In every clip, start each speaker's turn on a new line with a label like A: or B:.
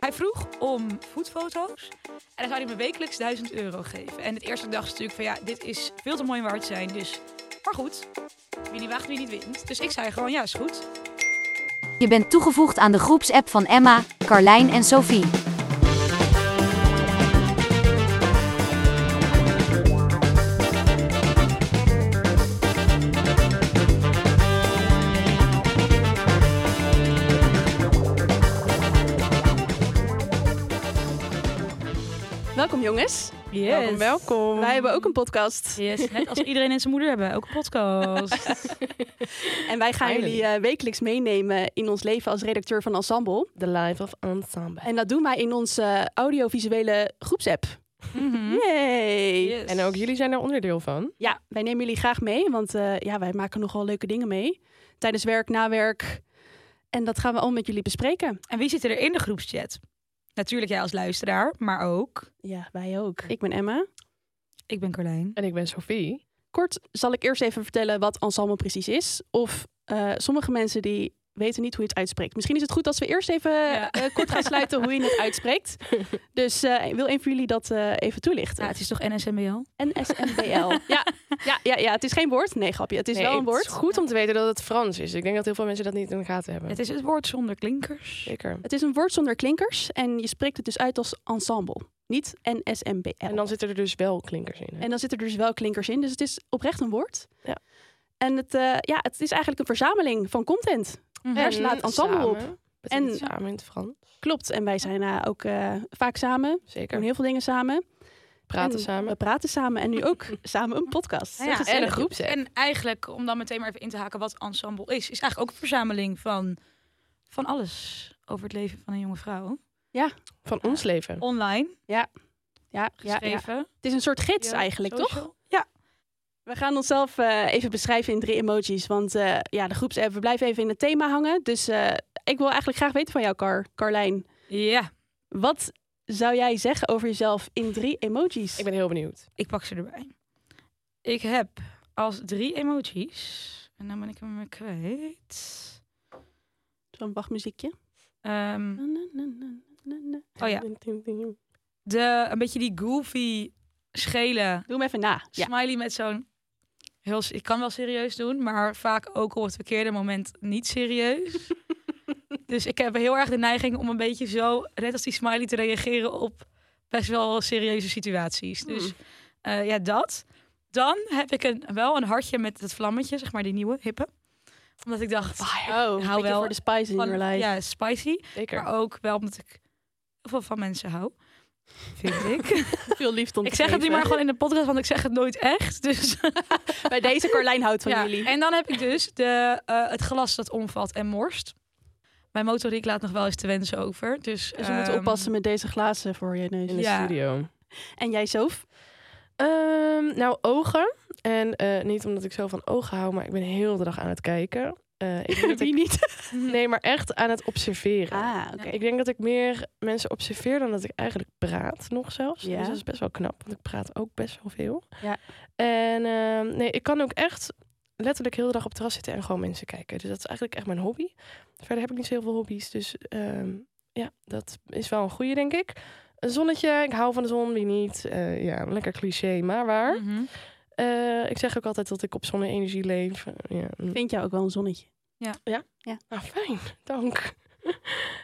A: Hij vroeg om foodfoto's. En dan zou hij me wekelijks 1000 euro geven. En het eerste dag is natuurlijk van ja, dit is veel te mooi om waar te zijn. Dus, maar goed, wie niet waagt, wie niet wint. Dus ik zei gewoon ja, is goed.
B: Je bent toegevoegd aan de groepsapp van Emma, Carlijn en Sophie.
C: Welkom jongens.
A: Yes.
C: Welkom, welkom. Wij hebben ook een podcast.
A: Yes, net als iedereen en zijn moeder hebben, ook een podcast.
C: En wij gaan
D: Finally.
C: jullie eh, wekelijks meenemen in ons leven als redacteur van Ensemble.
D: The Life of Ensemble.
C: En dat doen wij in onze eh, audiovisuele groepsapp. Hm?
A: Mhm.
C: Yay!
A: Yes.
D: En ook jullie zijn daar onderdeel van.
C: Ja, wij nemen jullie graag mee, want eh, ja, wij maken nogal leuke dingen mee. Tijdens werk, na werk. En dat gaan we al met jullie bespreken.
A: En wie zit er in de groepschat? Natuurlijk jij als luisteraar, maar ook...
C: Ja, wij ook. Ik ben Emma.
A: Ik ben Carlijn.
D: En ik ben Sophie.
C: Kort zal ik eerst even vertellen wat ensemble precies is. Of eh, sommige mensen die weten niet hoe je het uitspreekt. Misschien is het goed als we eerst even
A: Ja.
C: eh, kort gaan sluiten hoe je het uitspreekt. Dus eh, wil een van jullie dat eh, even toelichten?
A: Nou, het is toch NSMBL?
C: NSMBL. ja, ja, ja, ja, het is geen woord. Nee, grapje. Het is
D: Nee,
C: wel een
D: Het
C: woord.
D: is goed om te weten dat het Frans is. Ik denk dat heel veel mensen dat niet in de gaten hebben.
A: Het is het woord zonder klinkers.
D: Zeker.
C: Het is een woord zonder klinkers en je spreekt het dus uit als ensemble. Niet NSMBL.
D: En dan zitten er dus wel klinkers in. hè?
C: En dan zitten er dus wel klinkers in, dus het is oprecht een woord.
D: Ja.
C: En het, eh, ja, het is eigenlijk een verzameling van content.
A: Mhm.
C: daar slaat het ensemble
D: samen. En
C: En-
D: samen in het Frans.
C: Klopt, en wij zijn eh, ook eh, vaak samen, doen
D: Zeker.
C: heel veel dingen samen.
D: Praten
C: En
D: samen.
C: We praten samen en nu ook samen een podcast.
A: Ja, ja.
C: Gezellig.
D: En een groep
A: En eigenlijk, om dan meteen maar even in te haken wat ensemble is, is eigenlijk ook een verzameling van, van alles over het leven van een jonge vrouw.
D: van ons leven.
A: Online
C: Ja, ja, ja.
A: geschreven.
C: Het is een soort gids
A: Ja,
C: eigenlijk, toch?
A: social.
C: We gaan onszelf eh, even beschrijven in drie emojis. Want eh, ja, de groepsapp, we blijven even in het thema hangen. Dus eh, ik wil eigenlijk graag weten van jou, Car, Carlijn.
A: Ja,
C: Wat zou jij zeggen over jezelf in drie emojis?
D: Ik ben heel benieuwd.
A: ik pak ze erbij. Ik heb als drie emojis, en dan ben ik hem weer kwijt.
C: Zo'n wachtmuziekje.
A: Ehm, oh ja, de, een beetje die goofy, schele
C: Doe hem even na. Ja.
A: smiley met zo'n... Heel, ik kan wel serieus doen, maar vaak ook op het verkeerde moment niet serieus. dus ik heb heel erg de neiging om een beetje zo, net als die smiley, te reageren op best wel serieuze situaties.
C: Hmm.
A: Dus eh, ja, dat. Dan heb ik een, wel een hartje met het vlammetje, zeg maar die nieuwe, hippe. Omdat ik dacht,
C: Oh, hou
A: wel
C: wel voor de spice in
A: van-
C: your life.
A: ja, spicy.
D: Zeker.
A: Maar ook wel omdat ik heel veel van mensen hou, vind ik.
C: Veel liefde
A: ik zeg het nu maar gewoon in de podcast, want ik zeg het nooit echt. Dus
C: gewoon. Bij deze Carlijn houdt van
A: Ja,
C: jullie.
A: En dan heb ik dus de, eh, het glas dat omvalt en morst. Mijn motoriek laat nog wel eens te wensen over. Dus,
C: Dus we moeten
A: ehm,
C: oppassen met deze glazen voor je neus.
D: In de
A: Ja.
D: studio.
C: En jij, Sof?
D: Ehm, nou, ogen. En eh, niet omdat ik zo van ogen hou, maar ik ben heel de dag aan het kijken. Eh, ik denk dat
C: Wie
D: ik-
C: niet?
D: nee, maar echt aan het observeren.
C: Ah, oké.
D: Ik denk dat ik meer mensen observeer dan dat ik eigenlijk praat nog zelfs.
C: Ja.
D: Dus dat is best wel knap, want ik praat ook best wel veel.
C: Ja.
D: En ehm, nee, ik kan ook echt letterlijk heel de dag op het terras zitten en gewoon mensen kijken. Dus dat is eigenlijk echt mijn hobby. Verder heb ik niet zo heel veel hobby's, dus ehm, ja, dat is wel een goede, denk ik. Een zonnetje, ik hou van de zon, wie niet. Eh, ja, lekker cliché, maar waar.
C: Mm.
A: mhm.
D: Eh, ik zeg ook altijd dat ik op zonne-energie leef. Eh, ja.
C: Ik vind jou ook wel een zonnetje.
D: Ah, fijn, dank.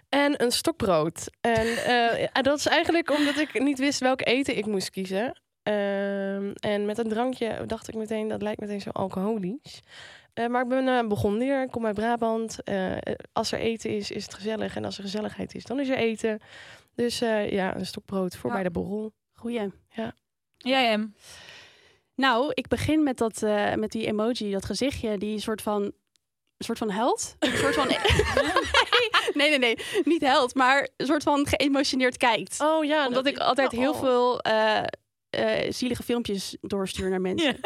D: En een stokbrood. En eh, ja, dat is eigenlijk omdat ik niet wist welk eten ik moest kiezen. Ehm, en met een drankje dacht ik meteen, dat lijkt meteen zo alcoholisch. Eh, maar ik ben eh begonleer, ik kom uit Brabant. Eh, eh, als er eten is, is het gezellig. En als er gezelligheid is, dan is er eten. Dus eh, ja, een stokbrood voor
A: Ja.
D: bij de borrel.
C: Goeie.
A: Jij hem.
C: Nou, ik begin met, dat, eh, met die emoji, dat gezichtje, die soort van, soort van held. Een soort van. e- nee, nee, nee, niet held, maar een soort van geëmotioneerd kijkt.
D: Oh ja,
C: Omdat ik altijd heel veel eh, eh, zielige filmpjes doorstuur naar mensen.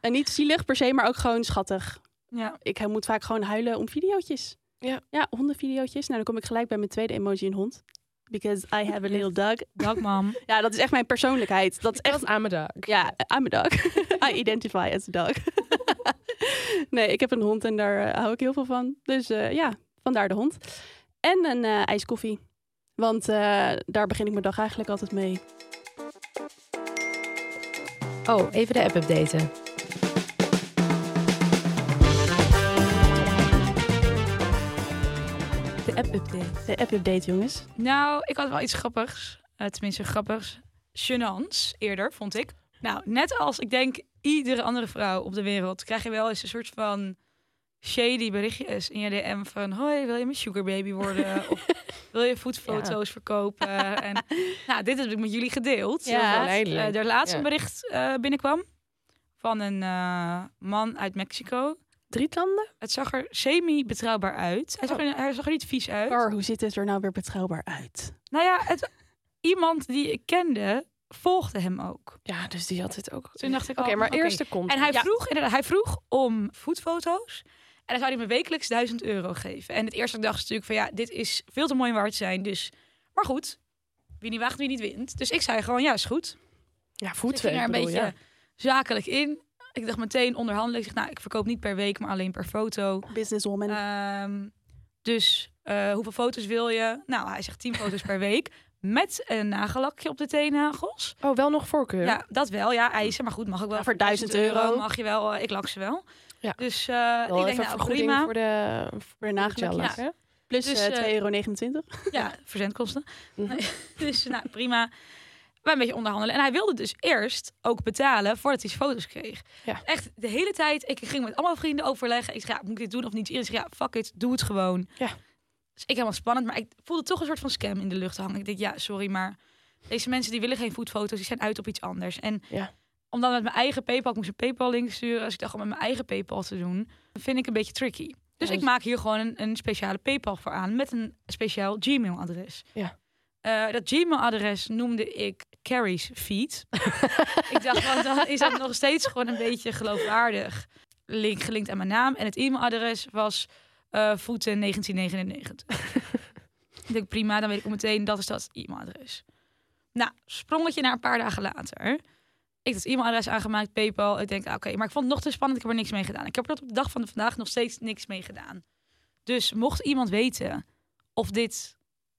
C: En niet zielig per se, maar ook gewoon schattig.
A: Ja.
C: Ik eh, moet vaak gewoon huilen om videootjes.
D: Ja.
C: ja, hondenvideootjes. Nou, dan kom ik gelijk bij mijn tweede emoji, een hond. Because I have a little dog.
A: Dank, mam.
C: Ja, dat is echt mijn persoonlijkheid. Dat is echt
D: aan mijn dag.
C: ja, I'm a dog. I identify as a dog. nee, ik heb een hond en daar eh, hou ik heel veel van. Dus eh, ja, vandaar de hond. En een eh, ijskoffie. Want eh, daar begin ik mijn dag eigenlijk altijd mee.
E: Oh, even de app updaten.
A: De app-update.
C: De app-update, jongens.
A: Nou, ik had wel iets grappigs. Eh, tenminste, grappigs. Genants, eerder, vond ik. Nou, net als ik denk iedere andere vrouw op de wereld... krijg je wel eens een soort van shady berichtjes in je DM van... Hoi, wil je mijn sugar baby worden? of wil je voetfoto's verkopen? En, nou, dit heb ik met jullie gedeeld.
E: Ja.
A: Eh,
E: Verleidelijk.
A: er laatst
E: Ja.
A: een bericht eh, binnenkwam van een eh, man uit Mexico.
C: Drie tanden?
A: Het zag er semi-betrouwbaar uit. Hij zag, er, hij zag er niet vies uit.
C: Bar, hoe ziet het er nou weer betrouwbaar uit?
A: Nou ja, het, iemand die ik kende volgde hem ook.
D: Ja, dus die had het ook.
A: Toen dacht ik,
D: Oké,
A: oh,
D: maar
A: oké.
D: eerst de komt.
A: En hij
D: Ja.
A: vroeg, inderdaad, hij vroeg om voetfoto's. En dan zou hij me wekelijks 1000 euro geven. En het eerste dag is natuurlijk van ja, dit is veel te mooi om waar te zijn. Dus, maar goed, wie niet waagt, wie niet wint. Dus ik zei gewoon, ja, is goed.
D: Ja,
A: Dus ik ging
D: voetweek
A: er een
D: bedoel
A: beetje
D: je. Ja.
A: zakelijk in. Ik dacht meteen onderhandelen. Ik zeg, nou, ik verkoop niet per week, maar alleen per foto.
C: Businesswoman.
A: Ehm, dus eh, hoeveel foto's wil je? Nou, hij zegt 10 foto's per week. Met een nagellakje op de teennagels.
D: Oh, wel nog voorkeur.
A: Ja, dat wel. Ja, eisen. Maar goed, mag ook wel.
C: Ja, voor 1000 euro.
A: mag je wel. eh, ik lak ze wel.
D: Ja.
A: Dus eh
D: Wel
A: ik denk,
D: even
A: nou,
D: vergoeding
A: prima.
D: voor de voor
C: Weer
D: de
C: nagellak.
D: gelak,
A: ja.
D: hè?
C: Plus
A: Dus,
C: eh,
A: eh,
C: 2,29 euro.
A: Ja, verzendkosten.
D: Mhm.
A: Nee, dus nou, prima. Maar een beetje onderhandelen. En hij wilde dus eerst ook betalen voordat hij zijn foto's kreeg.
D: Ja.
A: Echt de hele tijd. Ik ging met allemaal vrienden overleggen. Ik zei, ja, moet ik dit doen of niet? Iedereen zei, ja, fuck it, doe het gewoon.
D: Ja.
A: Dus ik helemaal spannend. Maar ik voelde toch een soort van scam in de lucht hangen. Ik dacht, ja, sorry, maar deze mensen die willen geen voetfoto's. Die zijn uit op iets anders. En
D: Ja.
A: om dan met mijn eigen Paypal, ik moest een Paypal link sturen. Als ik dacht om met mijn eigen Paypal te doen, vind ik een beetje tricky. Dus
D: Ja,
A: ik
D: dus-
A: maak hier gewoon een, een speciale Paypal voor aan met een speciaal Gmail-adres.
D: Ja.
A: Eh, dat Gmail-adres noemde ik Carrie's Feed. ik dacht, want dan is dat nog steeds gewoon een beetje geloofwaardig. Link gelinkt aan mijn naam. En het e-mailadres was eh, voeten 1999. ik denk, prima, dan weet ik ook meteen, dat is dat e-mailadres. Nou, sprongetje naar een paar dagen later. Ik had het e-mailadres aangemaakt, PayPal. Ik denk, ah, oké, maar ik vond het nog te spannend. Ik heb er niks mee gedaan. Ik heb er tot op de dag van vandaag nog steeds niks mee gedaan. Dus mocht iemand weten of dit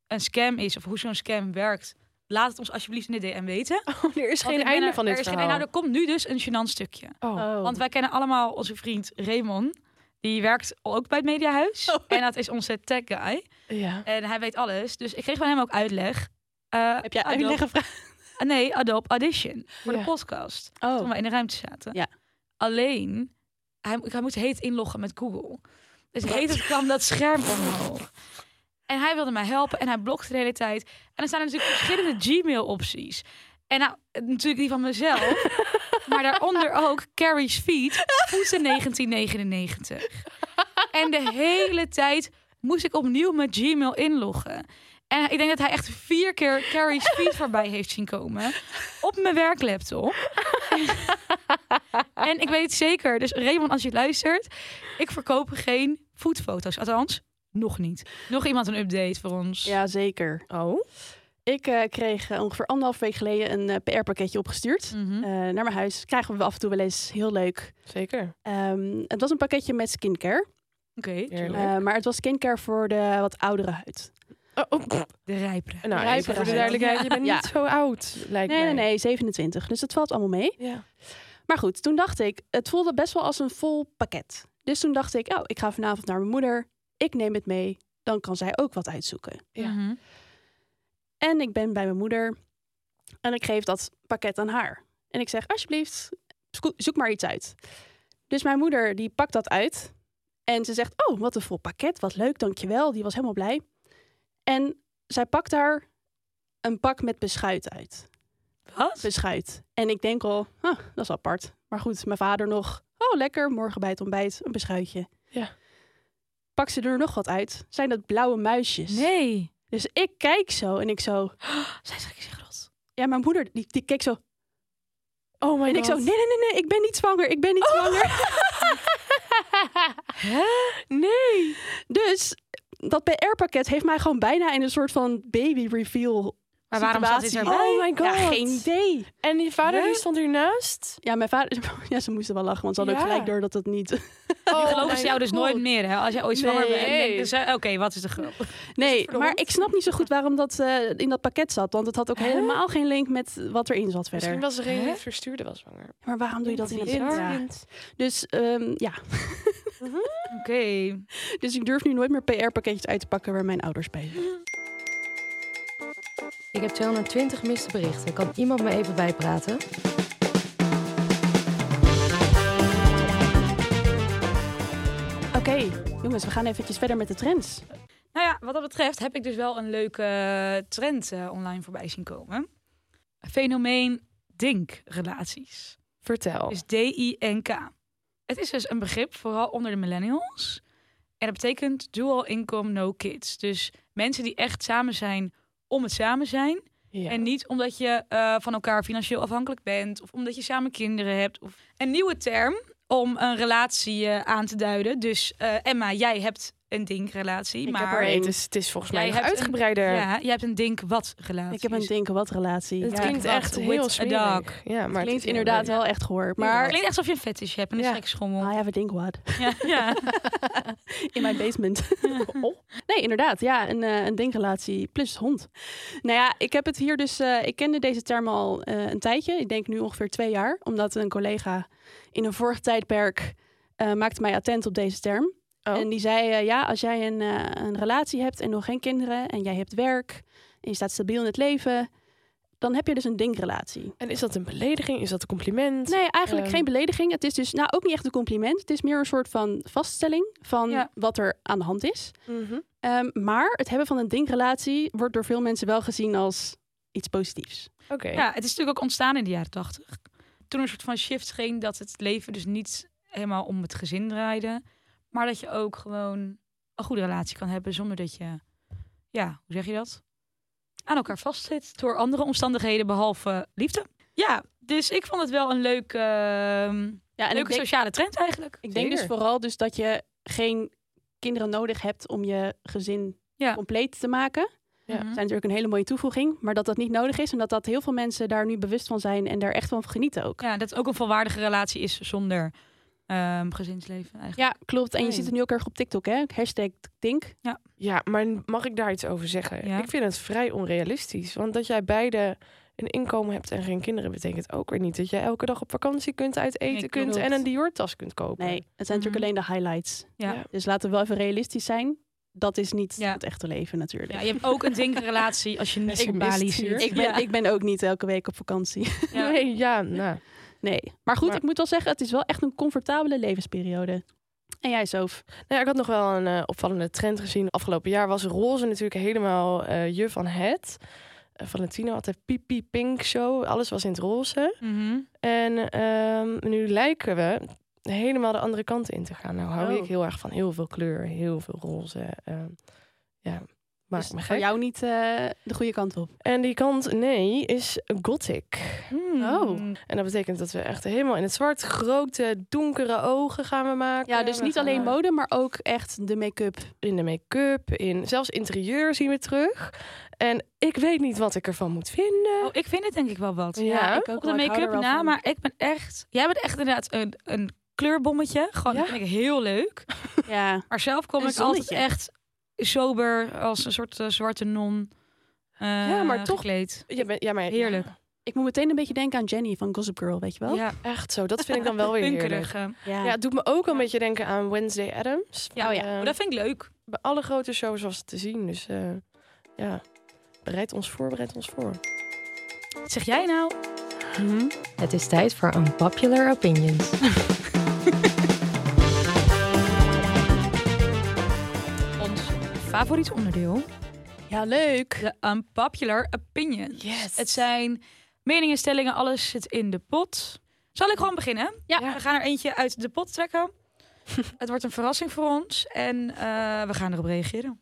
A: een scam is of hoe zo'n scam werkt, laat het ons alsjeblieft in de DM weten.
D: Oh, er
A: Want
D: is geen
A: ik ben
D: einde
A: er-
D: van
A: er
D: dit
A: is geen
D: verhaal.
A: einde. Nou, er komt nu dus een gênant stukje.
D: Oh.
A: Want wij kennen allemaal onze vriend Raymond. Die werkt ook bij het Mediahuis.
D: Oh.
A: En dat is onze tech guy.
D: Ja.
A: En hij weet alles. Dus ik kreeg van hem ook uitleg. Eh,
C: Heb jij
A: Adobe-
C: uitleg gevraagd?
A: Ah, Nee, Adobe Audition. Voor
D: Ja.
A: de podcast toen
C: Oh,
A: we in de ruimte zaten.
C: Ja.
A: Alleen, hij, hij moest heet inloggen met Google. Dus heet het kwam dat scherm omhoog. En hij wilde mij helpen en hij blokte de hele tijd. En dan staan er natuurlijk verschillende Gmail-opties. En nou, natuurlijk die van mezelf. maar daaronder ook Carrie's Feet, voeten 1999. En de hele tijd moest ik opnieuw met Gmail inloggen. En ik denk dat hij echt vier keer Carrie's Feet voorbij heeft zien komen. Op mijn werklaptop. En ik weet het zeker. Dus Raymond, als je luistert, ik verkoop geen foodfoto's. Althans, nog niet. Nog iemand een update voor ons.
C: ja, zeker.
D: Oh.
C: Ik eh, kreeg eh, ongeveer anderhalf week geleden een eh, PR-pakketje opgestuurd.
A: Mhm.
C: Eh, naar mijn huis. Krijgen we af en toe wel eens. Heel leuk.
D: Zeker.
C: Ehm, het was een pakketje met skincare.
A: Oké,
D: Heerlijk.
C: Eh, maar het was skincare voor de wat oudere huid.
D: Oh, oh, pff.
A: de rijpere.
D: Nou,
C: Rijpere
D: even voor de
C: huid.
D: duidelijkheid. Je bent
C: Ja.
D: niet zo oud, lijkt
C: Nee,
D: mij.
C: nee, nee, 27. Dus dat valt allemaal mee.
D: Ja.
C: Maar goed, toen dacht ik, het voelde best wel als een vol pakket. Dus toen dacht ik, oh, ik ga vanavond naar mijn moeder. Ik neem het mee. Dan kan zij ook wat uitzoeken.
D: Ja.
A: Mhm.
C: En ik ben bij mijn moeder. En ik geef dat pakket aan haar. En ik zeg, alsjeblieft, sco- zoek maar iets uit. Dus mijn moeder, die pakt dat uit. En ze zegt, oh, wat een vol pakket. Wat leuk, dankjewel. Die was helemaal blij. En zij pakt daar een pak met beschuit uit.
A: Wat?
C: beschuit. En ik denk al, ah, dat is apart. Maar goed, mijn vader nog, oh lekker, morgen bij het ontbijt een beschuitje.
D: Ja.
C: Pak ze er nog wat uit, zijn dat blauwe muisjes.
A: Nee.
C: Dus ik kijk zo en ik zo,
A: Zij zegt, ik zeg dat.
C: ja, mijn moeder, die, die keek zo.
D: Oh my
C: en ik
D: god.
C: zo, nee, nee, nee, nee, ik ben niet zwanger, ik ben
A: Oh.
C: niet zwanger.
D: Nee.
C: Dus dat PR-pakket heeft mij gewoon bijna in een soort van baby reveal
A: Maar waarom staat dit
C: situatie.
A: erbij?
D: Oh my god.
A: Ja, geen idee.
D: En die vader
A: Hè?
D: die stond hiernaast.
C: Ja, mijn vader... Ja, ze moesten wel lachen, want ze hadden
D: Ja.
C: ook gelijk door dat dat niet...
D: Oh,
A: Die geloven
D: mijn
A: ze jou dus
D: god.
A: nooit meer, hè? Als jij ooit zwanger bent.
D: Nee.
A: denken ze, Oké, wat is de grap?
C: Nee,
A: verdomd.
C: maar ik snap niet zo goed waarom dat eh, in dat pakket zat. Want het had ook helemaal geen link met wat erin zat verder.
D: Misschien was er een die
A: Hè?
D: het verstuurde was zwanger.
C: Maar waarom doe je dat in het
A: Bizar.
C: ja. Dus ehm, ja,
A: Oké.
C: dus ik durf nu nooit meer PR-pakketjes uit te pakken waar mijn ouders bij zijn.
E: Ik heb 220 miste berichten. Kan iemand me even bijpraten?
C: Oké, jongens, we gaan eventjes verder met de trends.
A: Nou ja, wat dat betreft heb ik dus wel een leuke trend eh, online voorbij zien komen. Fenomeen dink-relaties.
D: Vertel.
A: Dus D-I-N-K. Het is dus een begrip, vooral onder de millennials. En dat betekent dual income, no kids. Dus mensen die echt samen zijn om het samen zijn.
D: Ja.
A: En niet omdat je eh, van elkaar financieel afhankelijk bent. Of omdat je samen kinderen hebt. Of... Een nieuwe term om een relatie eh, aan te duiden. Dus eh, Emma, jij hebt een dinkrelatie.
C: Ik
A: maar...
C: heb er
D: Nee,
C: één.
D: het is, het is volgens mij
A: Jij
D: nog
A: hebt een-
D: uitgebreider.
A: Ja, je hebt een dink wat relatie.
C: Ik heb een
A: Dus
C: denken wat relatie.
D: Het
C: Het
A: Ja,
D: klinkt
A: ik
D: echt
A: dacht,
D: heel
A: with a
D: smerig.
A: dog.
D: Ja, maar het
C: klinkt
D: is heel
C: inderdaad
D: leuk.
C: wel echt gehoor.
A: Het
C: Maar
A: klinkt echt alsof je een fetish hebt en een
D: Ja.
A: sekschommel.
C: I have a dink what
A: Ja, ja.
C: in mijn basement. Oh. Nee, inderdaad. Ja, een, eh, een denkrelatie plus hond. Nou ja, ik heb het hier dus... eh, ik kende deze term al eh, een tijdje. Ik denk nu ongeveer twee jaar. Omdat een collega in een vorig tijdperk eh, maakte mij attent op deze term.
D: Oh.
C: En die zei, eh, ja, als jij een, eh, een relatie hebt en nog geen kinderen... en jij hebt werk en je staat stabiel in het leven... dan heb je dus een dinkrelatie.
D: En is dat een belediging? Is dat een compliment?
C: Nee, eigenlijk
D: Ehm.
C: geen belediging. Het is dus nou ook niet echt een compliment. Het is meer een soort van vaststelling van
A: Ja.
C: wat er aan de hand is.
D: Mhm.
C: Ehm, maar het hebben van een dingrelatie wordt door veel mensen wel gezien als iets positiefs.
D: Oké.
A: ja, het is natuurlijk ook ontstaan in de jaren tachtig. Toen er een soort van shift ging dat het leven dus niet helemaal om het gezin draaide. Maar dat je ook gewoon een goede relatie kan hebben zonder dat je, ja, hoe zeg je dat? Aan elkaar vastzit door andere omstandigheden behalve liefde. Ja, dus ik vond het wel een leuke, ehm,
C: Ja, en
A: leuke
C: ik denk,
A: sociale trend eigenlijk.
C: ik denk dus
D: Zeker.
C: vooral dus dat je geen kinderen nodig hebt om je gezin
A: Ja.
C: compleet te maken.
D: Ja.
A: Mhm.
C: Dat zijn natuurlijk een hele mooie toevoeging, maar dat dat niet nodig is en dat dat heel veel mensen daar nu bewust van zijn en daar echt van genieten ook.
A: Ja, dat het ook een volwaardige relatie is zonder ehm, gezinsleven eigenlijk.
C: Ja, klopt. En je
D: Fijn.
C: ziet het nu ook erg op TikTok, hè? Hashtag Tink.
D: Ja, maar mag ik daar iets over zeggen?
A: Ja.
D: Ik vind het vrij onrealistisch. Want dat jij beide een inkomen hebt en geen kinderen... betekent ook weer niet dat jij elke dag op vakantie kunt, uit eten
A: Nee,
D: kunt...
A: klopt.
D: en een Dior-tas kunt kopen.
C: Nee, het zijn
A: Mhm.
C: natuurlijk alleen de highlights.
A: Ja.
D: Ja.
C: Dus laten we wel even realistisch zijn. Dat is niet
A: Ja.
C: het echte leven natuurlijk.
A: Ja, je hebt ook een dinkrelatie als je niet
D: Ik
A: op
D: mist
A: Bali
D: hier.
A: zit.
C: Ik ben,
A: Ja.
C: ik ben ook niet elke week op vakantie.
A: Ja.
D: Nee, ja, nou.
C: Nee. Maar goed,
D: Maar-
C: ik moet wel zeggen, het is wel echt een comfortabele levensperiode. En jij, Soof?
D: Nou ja, ik had nog wel een eh, opvallende trend gezien. Afgelopen jaar was roze natuurlijk helemaal eh, je van het. Eh, Valentino had de Pipi Pink Show. Alles was in het roze.
A: Mhm.
D: En ehm, nu lijken we helemaal de andere kant in te gaan. Nou hou
C: Oh.
D: ik heel erg van heel veel kleur, heel veel roze. ehm, ja, maakt
C: Dus
D: me
C: voor
D: gek.
C: jou niet eh, de goede kant op.
D: En die kant, nee, is gothic.
C: Oh.
A: Mm.
D: En dat betekent dat we echt helemaal in het zwart grote, donkere ogen gaan we maken.
C: Ja, dus
D: We
C: niet
D: gaan,
C: alleen
D: eh,
C: mode, maar ook echt de make-up.
D: in de make-up, in zelfs interieur zien we terug. En ik weet niet wat ik ervan moet vinden.
A: Oh, ik vind het denk ik wel wat.
D: Ja,
C: ik ook
A: Op de
C: wel. Ik hou er
A: make-up
C: wel
A: na,
C: van.
A: maar ik ben echt... Jij bent echt inderdaad een, een kleurbommetje. Gewoon, dat
D: Ja.
A: vind ik heel leuk.
C: Ja.
A: Maar zelf kom
C: Een
A: ik altijd
C: zonnetje.
A: echt sober als een soort eh, zwarte non eh,
D: Ja, maar toch-
A: gekleed.
D: Ja, ben, ja, maar
A: Heerlijk.
C: Ik moet meteen een beetje denken aan Jenny van Gossip Girl, weet je wel?
A: Ja,
D: echt zo. Dat vind ik dan wel weer heerlijk.
A: punkerig. eh.
D: Ja, het doet me ook een beetje denken aan Wednesday Adams.
A: Ja,
D: Maar,
A: oh ja.
D: eh,
A: Maar dat vind ik leuk.
D: Bij alle grote shows was het te zien. Dus eh, ja, bereid ons voor, bereid ons voor.
A: Wat zeg jij nou?
C: Mhm.
E: Het is tijd voor Unpopular Opinions.
A: Ons favoriet onderdeel.
C: Ja, leuk.
A: De unpopular opinions.
D: Yes.
A: Het zijn meningen, stellingen, alles zit in de pot. Zal ik gewoon beginnen?
C: Ja.
A: We gaan er eentje uit de pot trekken. het wordt een verrassing voor ons en eh, we gaan erop reageren.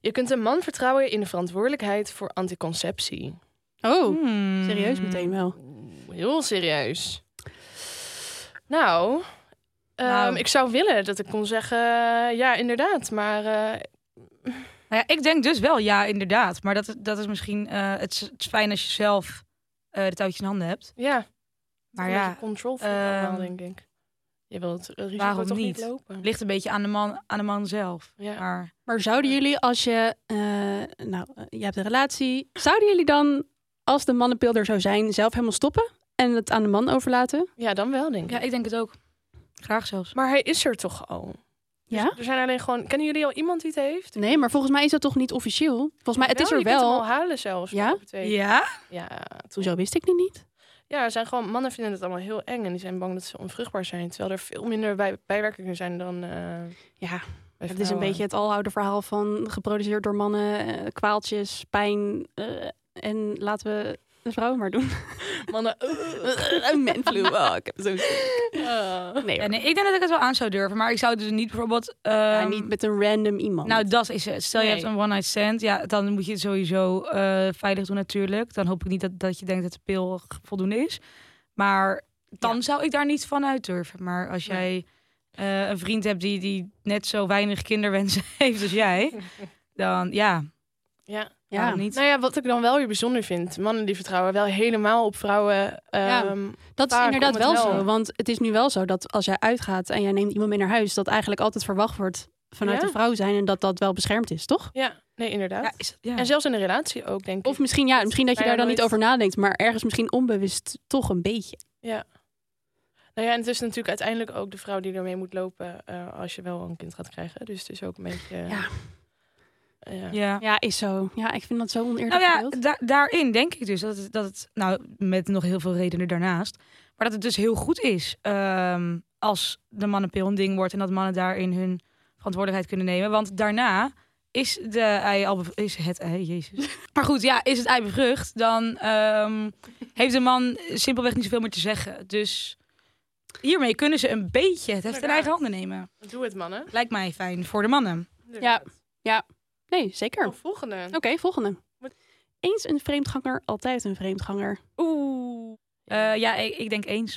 D: Je kunt een man vertrouwen in de verantwoordelijkheid voor anticonceptie.
C: Oh,
A: Hmm.
C: serieus meteen wel.
D: Heel serieus. Nou, ehm,
A: Nou.
D: ik zou willen dat ik kon zeggen, ja, inderdaad. Maar eh,
A: Nou, Nou ja, ik denk dus wel ja, inderdaad. Maar dat, dat is misschien... eh, het, is, het is fijn als je zelf eh, de touwtjes in handen hebt.
D: Ja.
A: Maar
D: een
A: ja,
D: beetje Control freak
A: ehm,
D: allemaal, denk ik. Je wil het risico
A: waarom
D: toch niet
A: niet?
D: lopen.
A: het ligt een beetje aan de man, aan de man zelf.
D: Ja.
A: Maar
C: Maar zouden jullie als je, eh, nou, eh, je hebt een relatie, zouden jullie dan, als de mannenpil er zou zijn, zelf helemaal stoppen en het aan de man overlaten?
D: Ja, dan wel, denk ik.
A: ja, ik denk het ook. Graag zelfs.
D: Maar hij is er toch al? Dus
C: Ja?
D: Er zijn alleen gewoon... Kennen jullie al iemand die het heeft? Nou,
C: Nee, maar volgens mij is dat toch niet officieel? Volgens mij, het is er
D: je kunt hem al
C: wel.
D: halen zelfs.
C: Ja?
D: maar op twee.
A: Ja?
D: Ja,
C: Hoezo wist ik dit niet?
D: ja, er zijn gewoon mannen vinden het allemaal heel eng en die zijn bang dat ze onvruchtbaar zijn, terwijl er veel minder bij, bijwerkingen zijn dan. eh,
C: Ja,
D: bij
C: het is een
D: vrouwen.
C: beetje het aloude verhaal van geproduceerd door mannen, eh, kwaaltjes, pijn eh, en laten we de vrouwen maar doen.
D: mannen.
C: Menflu, oh, ik heb het zo
D: Eh,
C: Nee,
A: ja
C: hoor.
A: nee, ik denk dat ik het wel aan zou durven. Maar ik zou dus niet bijvoorbeeld...
C: Ja,
A: ehm,
C: niet met een random iemand.
A: Nou, dat is het. Stel je
D: Nee.
A: hebt een one-night stand, ja, dan moet je het sowieso eh, veilig doen natuurlijk. Dan hoop ik niet dat, dat je denkt dat de pil g- voldoende is. Maar dan zou ik daar niet van uit durven. Maar als jij eh, een vriend hebt die, die net zo weinig kinderwensen heeft als jij, dan ja,
D: ja.
C: ja.
A: waarom niet?
D: Nou ja, wat ik dan wel weer bijzonder vind, mannen die vertrouwen wel helemaal op vrouwen.
C: Ja.
D: ehm,
C: Dat is
D: Vaak
C: inderdaad
D: om
C: wel,
D: het wel.
C: zo. Want het is nu wel zo dat als jij uitgaat en jij neemt iemand mee naar huis, dat eigenlijk altijd verwacht wordt vanuit
D: Ja.
C: de vrouw zijn en dat dat wel beschermd is, toch?
D: ja, nee, inderdaad.
A: Ja, is dat- ja.
D: En zelfs in een relatie ook, denk ik.
C: Of misschien, ja, misschien dat je
D: Bijna
C: daar dan niet
D: nooit.
C: over nadenkt, maar ergens misschien onbewust toch een beetje.
D: Nou ja, en het is natuurlijk uiteindelijk ook de vrouw die ermee moet lopen eh, als je wel een kind gaat krijgen. Dus het is ook een beetje. eh,
C: Ja.
D: ja.
A: ja.
C: Ja, is zo. Ah. Ja, ik vind dat zo oneerlijk
A: Nou ja,
C: verdeeld.
A: da- daarin denk ik dus dat het, dat het, nou met nog heel veel redenen daarnaast, maar dat het dus heel goed is ehm, als de mannenpil een ding wordt en dat mannen daarin hun verantwoordelijkheid kunnen nemen. Want daarna is, de ei al bev- is het ei, jezus. Maar goed, ja, is het ei bevrucht, dan ehm, heeft de man simpelweg niet zoveel meer te zeggen. Dus hiermee kunnen ze een beetje het heft in eigen
D: Inderdaad.
A: handen nemen.
D: Doe het, mannen.
A: Lijkt mij fijn voor de mannen.
C: Nee, zeker.
D: Oh,
C: Oké,
D: volgende.
C: volgende.
D: Wat-
C: Eens een vreemdganger, altijd een vreemdganger.
A: Oeh. Eh, ja, ik, ik denk eens.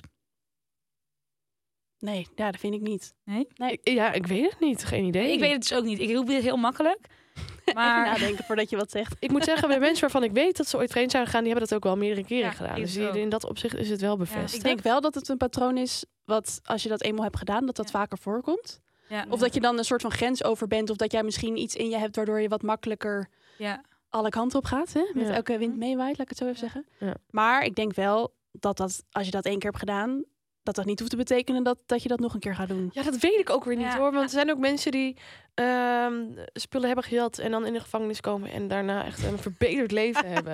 C: Nee, ja, dat vind ik niet.
D: Ik- Ja, ik weet het niet. Geen idee.
A: Ik weet het dus ook niet. Ik roep dit heel makkelijk. Maar
C: Even nadenken voordat je wat zegt.
D: Ik moet zeggen, bij mensen waarvan ik weet dat ze ooit vreemd zijn gegaan, die hebben dat ook wel meerdere keren
A: Ja,
D: gedaan.
A: ik
D: Dus
A: ook.
D: in dat opzicht is het wel bevestigd.
C: Ik denk wel dat het een patroon is wat, als je dat eenmaal hebt gedaan, dat dat
A: Ja.
C: vaker voorkomt.
A: ja,
C: Of dat je dan een soort van grens over bent. Of dat jij misschien iets in je hebt waardoor je wat makkelijker
A: ja.
C: alle kanten op gaat. Hè? Met
D: Ja.
C: elke wind meewaait, laat ik het zo even zeggen.
D: Ja.
C: Maar ik denk wel dat, dat als je dat één keer hebt gedaan, dat dat niet hoeft te betekenen dat, dat je dat nog een keer gaat doen.
D: Ja, dat weet ik ook weer niet
A: Ja.
D: hoor. Want er zijn ook mensen die ehm, spullen hebben gejat en dan in de gevangenis komen en daarna echt een verbeterd leven hebben.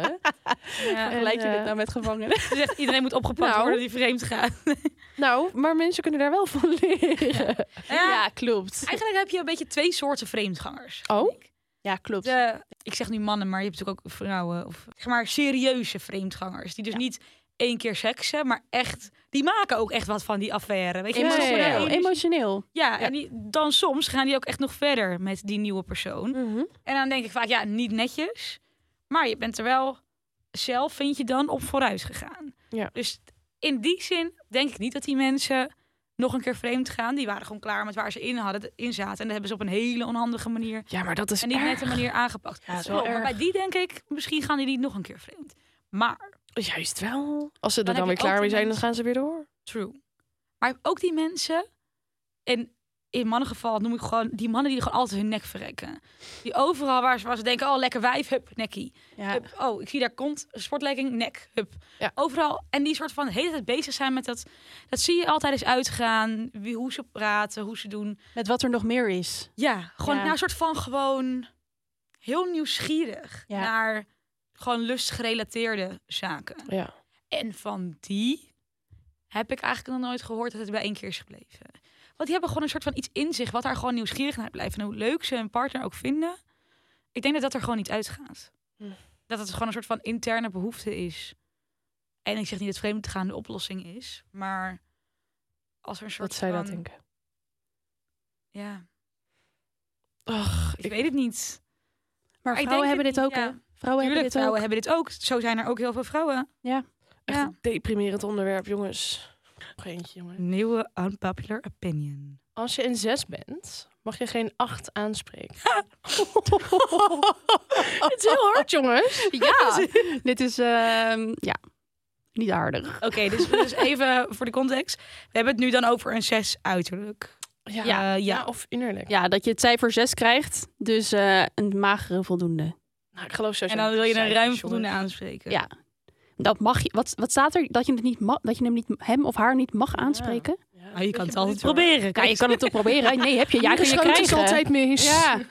A: Ja.
C: Vergelijk je
D: eh,
C: dit nou met gevangenen?
A: Dus echt, iedereen moet opgepakt
D: Nou.
A: worden die vreemd gaat.
D: Nou, maar mensen kunnen daar wel van leren.
A: Ja,
C: klopt.
A: Eigenlijk heb je een beetje twee soorten vreemdgangers.
D: Oh?
A: vind ik.
C: Ja, klopt.
A: De, ik zeg nu mannen, maar je hebt natuurlijk ook vrouwen. Of zeg maar serieuze vreemdgangers. Die dus niet één keer seksen, maar echt... Die maken ook echt wat van die affaire. Weet je? wel?
C: Emotioneel.
D: Ja, ja, ja.
C: Emotioneel.
A: Ja, en die, dan soms gaan die ook echt nog verder met die nieuwe persoon. En dan denk ik vaak, ja, niet netjes. Maar je bent er wel zelf, vind je dan, op vooruit gegaan.
D: Ja.
A: Dus in die zin denk ik niet dat die mensen nog een keer vreemd gaan. Die waren gewoon klaar met waar ze in, hadden, in zaten. En dat hebben ze op een hele onhandige manier
D: Ja, maar dat is
A: en niet
D: erg.
A: nette manier aangepakt.
D: Ja, dat is wel
A: Oh, maar
D: erg.
A: bij die denk ik, misschien gaan die niet nog een keer vreemd. Maar,
D: Juist wel. Als ze er
A: Dan heb
D: dan, weer
A: je ook
D: klaar mee
A: die
D: zijn, dan
A: mensen-
D: gaan ze weer door.
A: true. Maar ook die mensen, en in mannengeval noem ik gewoon... die mannen die gewoon altijd hun nek verrekken. Die overal waar ze, waar ze denken, oh, lekker wijf, hup, nekkie.
C: Ja.
A: Hup. Oh, ik zie daar kont, sportlegging, nek, hup.
D: Ja.
A: Overal. En die soort van de hele tijd bezig zijn met dat. Dat zie je altijd eens uitgaan. Wie, hoe ze praten, hoe ze doen.
C: Met wat er nog meer is.
A: Ja, gewoon
C: Ja.
A: nou, een soort van gewoon heel nieuwsgierig
C: Ja.
A: naar gewoon lustgerelateerde zaken.
D: Ja.
A: En van die heb ik eigenlijk nog nooit gehoord dat het bij één keer is gebleven. Want die hebben gewoon een soort van iets in zich wat daar gewoon nieuwsgierig naar blijft. En hoe leuk ze hun partner ook vinden. Ik denk dat dat er gewoon niet uitgaat.
D: Hm.
A: Dat het gewoon een soort van interne behoefte is. En ik zeg niet dat vreemd gaan de oplossing is. Maar als er een soort
D: Wat zij
A: van...
D: dat denken.
A: Ja,
D: Och,
A: ik,
D: ik-
A: weet het niet.
C: Maar
A: Maar ik
C: vrouwen
A: denk
C: hebben
A: het
C: dit ook,
A: niet,
C: hè?
A: ja.
C: Vrouwen hebben
A: Tuurlijk,
C: dit
A: vrouwen
C: ook.
A: hebben dit ook. Zo zijn er ook heel veel vrouwen.
C: Ja.
D: Echt
A: Ja.
D: een deprimerend onderwerp, jongens. Nog eentje, jongen.
A: Nieuwe unpopular opinion.
D: Als je een zes bent, Mag je geen acht aanspreken? Het is heel hard, jongens.
C: Ja, dit is ehm, ja, niet aardig.
A: Oké, dus, dus even voor de context. We hebben het nu dan over een zes uiterlijk.
D: Ja,
A: ja.
D: of innerlijk.
C: Ja, dat je het cijfer 6 krijgt, dus eh, een magere voldoende.
D: Nou, ik geloof zo.
A: En dan wil je een ruim voldoende aanspreken.
C: Ja. Dat mag je, wat, wat staat er? Dat je, het niet mag, dat je hem, niet, hem of haar niet mag aanspreken?
A: Nou, je kan het altijd proberen.
C: Ja, je kan het toch proberen? Nee, heb je. Ja, kun je
D: Aangeschoten
C: krijgen.
D: is altijd mis.
C: Ja.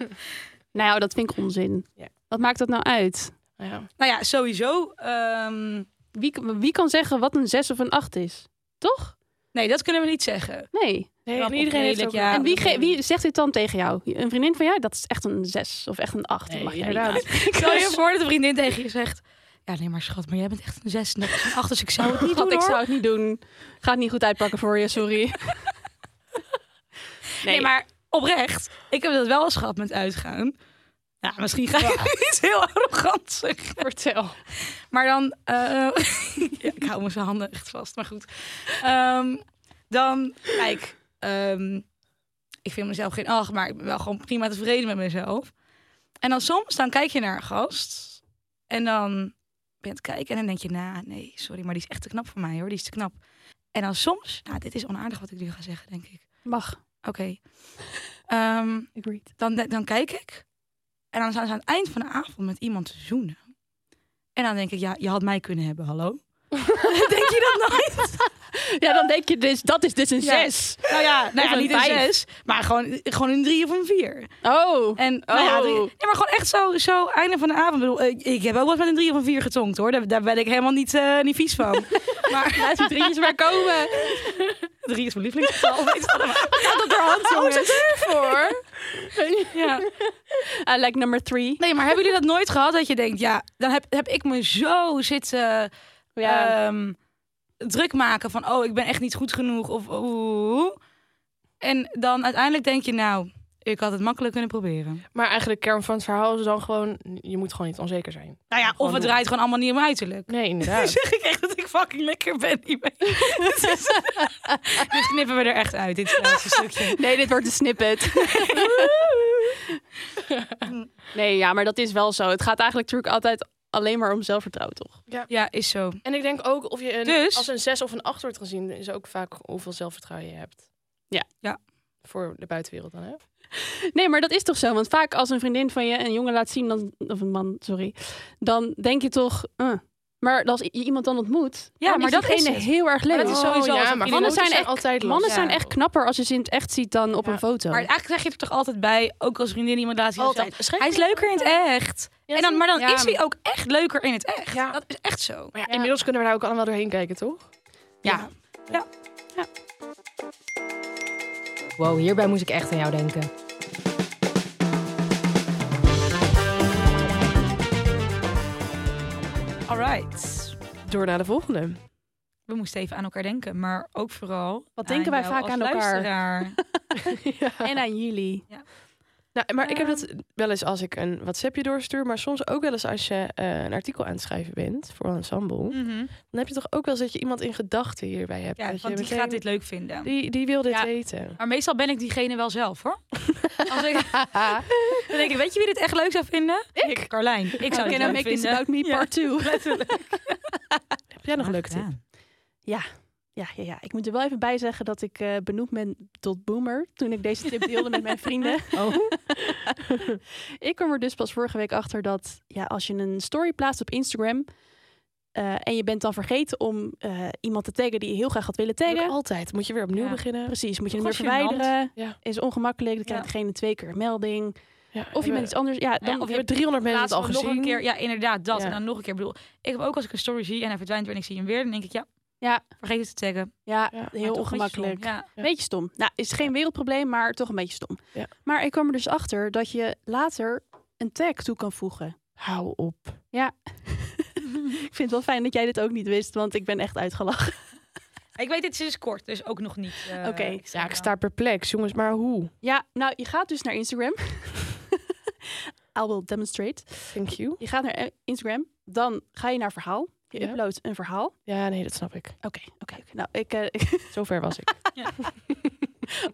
C: Nou, dat vind ik onzin.
D: Ja.
C: Wat maakt dat nou uit?
D: Ja.
A: Nou ja, sowieso. ehm,
C: Wie, wie kan zeggen wat een 6 of een 8 is? Toch?
A: nee, dat kunnen we niet zeggen.
C: Nee.
D: Nee,
A: Rap
D: en
A: of
D: iedereen heeft
A: redelijk,
D: ook...
A: ja.
C: en wie,
A: dat
C: ge-
A: weet
C: wie zegt dit dan tegen jou? Een vriendin van jou? Dat is echt een 6 of echt een 8.
D: Nee,
C: mag jij niet
D: inderdaad.
C: aan.
A: Stel je voor dat een vriendin tegen je zegt... Ja, nee, maar schat, maar jij bent echt een zes en dat is een acht, dus ik zou het niet
C: Schat,
A: doen,
C: ik
A: hoor.
C: zou het niet doen. Gaat niet goed uitpakken voor je, sorry.
A: Nee, maar oprecht. Ik heb dat wel eens gehad met uitgaan. Ja, misschien ga ik iets heel arrogant zeggen.
D: Vertel.
A: Maar dan... eh, ja, ik hou mijn handen echt vast, maar goed. Ehm, dan, kijk... ehm, ik vind mezelf geen acht, maar ik ben wel gewoon prima tevreden met mezelf. En dan soms, dan kijk je naar een gast. En dan ben je aan het kijken en dan denk je... Nou, nee, sorry, maar die is echt te knap voor mij, hoor. Die is te knap. En dan soms... Nou, dit is onaardig wat ik nu ga zeggen, denk ik.
C: Mag.
A: Oké. Ehm,
C: Agreed.
A: dan, dan kijk ik. En dan staan ze aan het eind van de avond met iemand te zoenen. En dan denk ik, ja, je had mij kunnen hebben, hallo. denk je dat nooit?
C: Ja, dan denk je dus, dat is dus een
A: Ja.
C: 6.
A: Nou ja, nou ja
C: een
A: niet een
C: vijf.
A: zes, maar gewoon, gewoon een drie of een vier.
C: Oh.
A: En, nou ja,
C: Oh.
A: drie- nee, maar gewoon echt zo, zo einde van de avond. Ik, bedoel, eh, ik, ik heb ook wel eens met een drie of een vier getonkt, hoor. Daar, daar ben ik helemaal niet, eh, niet vies van. maar
C: Laat die drietjes maar komen.
A: drie is mijn lievelingsgetal. weet je wel. Oh,
C: Gaat dat door hand, jongens.
D: Voor.
A: ja.
C: I like number three.
A: Nee, maar hebben jullie dat nooit gehad dat je denkt, ja, dan heb, heb ik me zo zitten
C: Ja.
A: ehm, druk maken van, oh, ik ben echt niet goed genoeg of oeh. En dan uiteindelijk denk je, nou, ik had het makkelijk kunnen proberen.
D: Maar eigenlijk kern van het verhaal is dan gewoon... Je moet gewoon niet onzeker zijn.
A: Nou ja, of het draait gewoon allemaal niet om uiterlijk.
D: Nee,
A: Dan
D: inderdaad.
A: zeg ik echt dat ik fucking lekker ben hiermee. Dit
C: eh.
A: is- dit knippen we er echt uit, dit laatste stukje.
C: Nee, dit wordt een snippet. nee, ja, maar dat is wel zo. Het gaat eigenlijk natuurlijk altijd alleen maar om zelfvertrouwen, toch?
A: Ja, is zo.
D: en ik denk ook of je een,
A: Dus?
D: als een zes of een acht wordt gezien... is ook vaak hoeveel zelfvertrouwen je hebt.
C: Ja.
A: Ja.
D: Voor de buitenwereld dan, hè?
C: Nee, maar dat is toch zo? Want vaak als een vriendin van je een jongen laat zien, dan, of een man, sorry, dan denk je toch. eh. Maar als i- je iemand dan ontmoet,
A: Ja,
C: dan
A: maar
C: is
A: dat
C: diegene
A: is het.
C: heel erg leuk.
A: Maar dat is sowieso als een
D: Oh, maar
A: vriendin-
D: mannen
C: Mannen zijn
D: zijn,
C: echt-
D: altijd
C: Mannen
D: lastig.
C: zijn echt knapper als je ze in het echt ziet dan op
D: Ja.
C: een foto.
A: Maar eigenlijk zeg je er toch altijd bij, ook als vriendin iemand laat zien.
D: Altijd.
A: Hij is leuker in het echt.
D: Ja,
A: en dan, maar dan
D: ja.
A: is hij ook echt leuker in het echt.
D: Ja.
A: Dat is echt zo.
D: Maar ja, inmiddels kunnen we daar ook allemaal doorheen kijken, toch?
A: Ja.
E: Wow, hierbij moest ik echt aan jou denken.
A: Alright.
D: Door naar de volgende.
A: We moesten even aan elkaar denken, maar ook vooral.
C: Wat denken wij
A: jou
C: vaak
A: als
C: aan elkaar?
A: luisteraar.
C: En aan jullie.
D: Nou, maar ik heb dat wel eens als ik een WhatsAppje doorstuur, maar soms ook wel eens als je eh, een artikel aan het schrijven bent voor een ensemble.
A: Mhm.
D: Dan heb je toch ook wel eens dat je iemand in gedachten hierbij hebt.
A: Ja,
D: dat je
A: want die
D: meteen-
A: gaat dit leuk vinden.
D: Die, die wil dit
A: Ja.
D: weten.
A: Maar meestal ben ik diegene wel zelf hoor. Als ik, dan denk ik, weet je wie dit echt leuk zou vinden? Ik. Carlijn. Ik zou
C: I
A: dit
C: cannot
A: leuk
C: make this
A: vinden.
C: about me
A: Ja.
C: part 2.
D: Heb jij nog een leuke tip?
A: gedaan.
C: Ja, ja, ja, ik moet er wel even bij zeggen dat ik eh, benoemd ben tot boomer toen ik deze tip deelde met mijn vrienden.
D: Oh.
C: ik kwam er dus pas vorige week achter dat ja, als je een story plaatst op Instagram eh, en je bent dan vergeten om eh, iemand te taggen die je heel graag had willen
D: Doe ik
C: taggen.
D: altijd. Moet je weer opnieuw
A: Ja.
D: beginnen?
C: Precies, moet je hem weer
A: Toch wel gênant.
C: verwijderen.
D: Ja.
C: Is ongemakkelijk, dan krijgt
A: Ja.
C: degene twee keer een melding.
D: Ja,
C: Of je
D: hebben-
C: bent iets anders. Ja, dan,
A: of je
D: hebben 300 mensen het
A: Laatst
D: al
A: nog
D: gezien.
A: een keer. Ja, inderdaad dat.
D: Ja.
A: En dan nog een keer. Ik bedoel, ik heb ook als ik een story zie en hij verdwijnt weer en ik zie hem weer, dan denk ik ja.
C: Ja.
A: Vergeet het te taggen.
C: ja,
D: Ja, maar
A: Maar
C: heel
A: toch een beetje stom.
C: ongemakkelijk.
A: Ja.
D: Ja.
C: Beetje stom. Nou, is geen wereldprobleem, maar toch een beetje stom.
D: Ja.
C: Maar ik kwam er dus achter dat je later een tag toe kan voegen.
D: eh, Hou op.
C: Ik vind het wel fijn dat jij dit ook niet wist, want ik ben echt uitgelachen.
A: Ik weet dit sinds kort, dus ook nog niet. eh,
C: Oké.
A: extra
D: Ja, ik
A: lang.
D: sta perplex, jongens. Maar hoe?
C: Ja, nou, je gaat dus naar Instagram. I will demonstrate.
D: Thank you.
C: Je gaat naar eh, Instagram, dan ga je naar verhaal. Je
D: Ja.
C: uploadt een verhaal.
A: Oh.
D: Ja, nee, dat snap ik.
C: Oké, oké. oké. Nou, ik, eh, ik-
D: Zover was ik.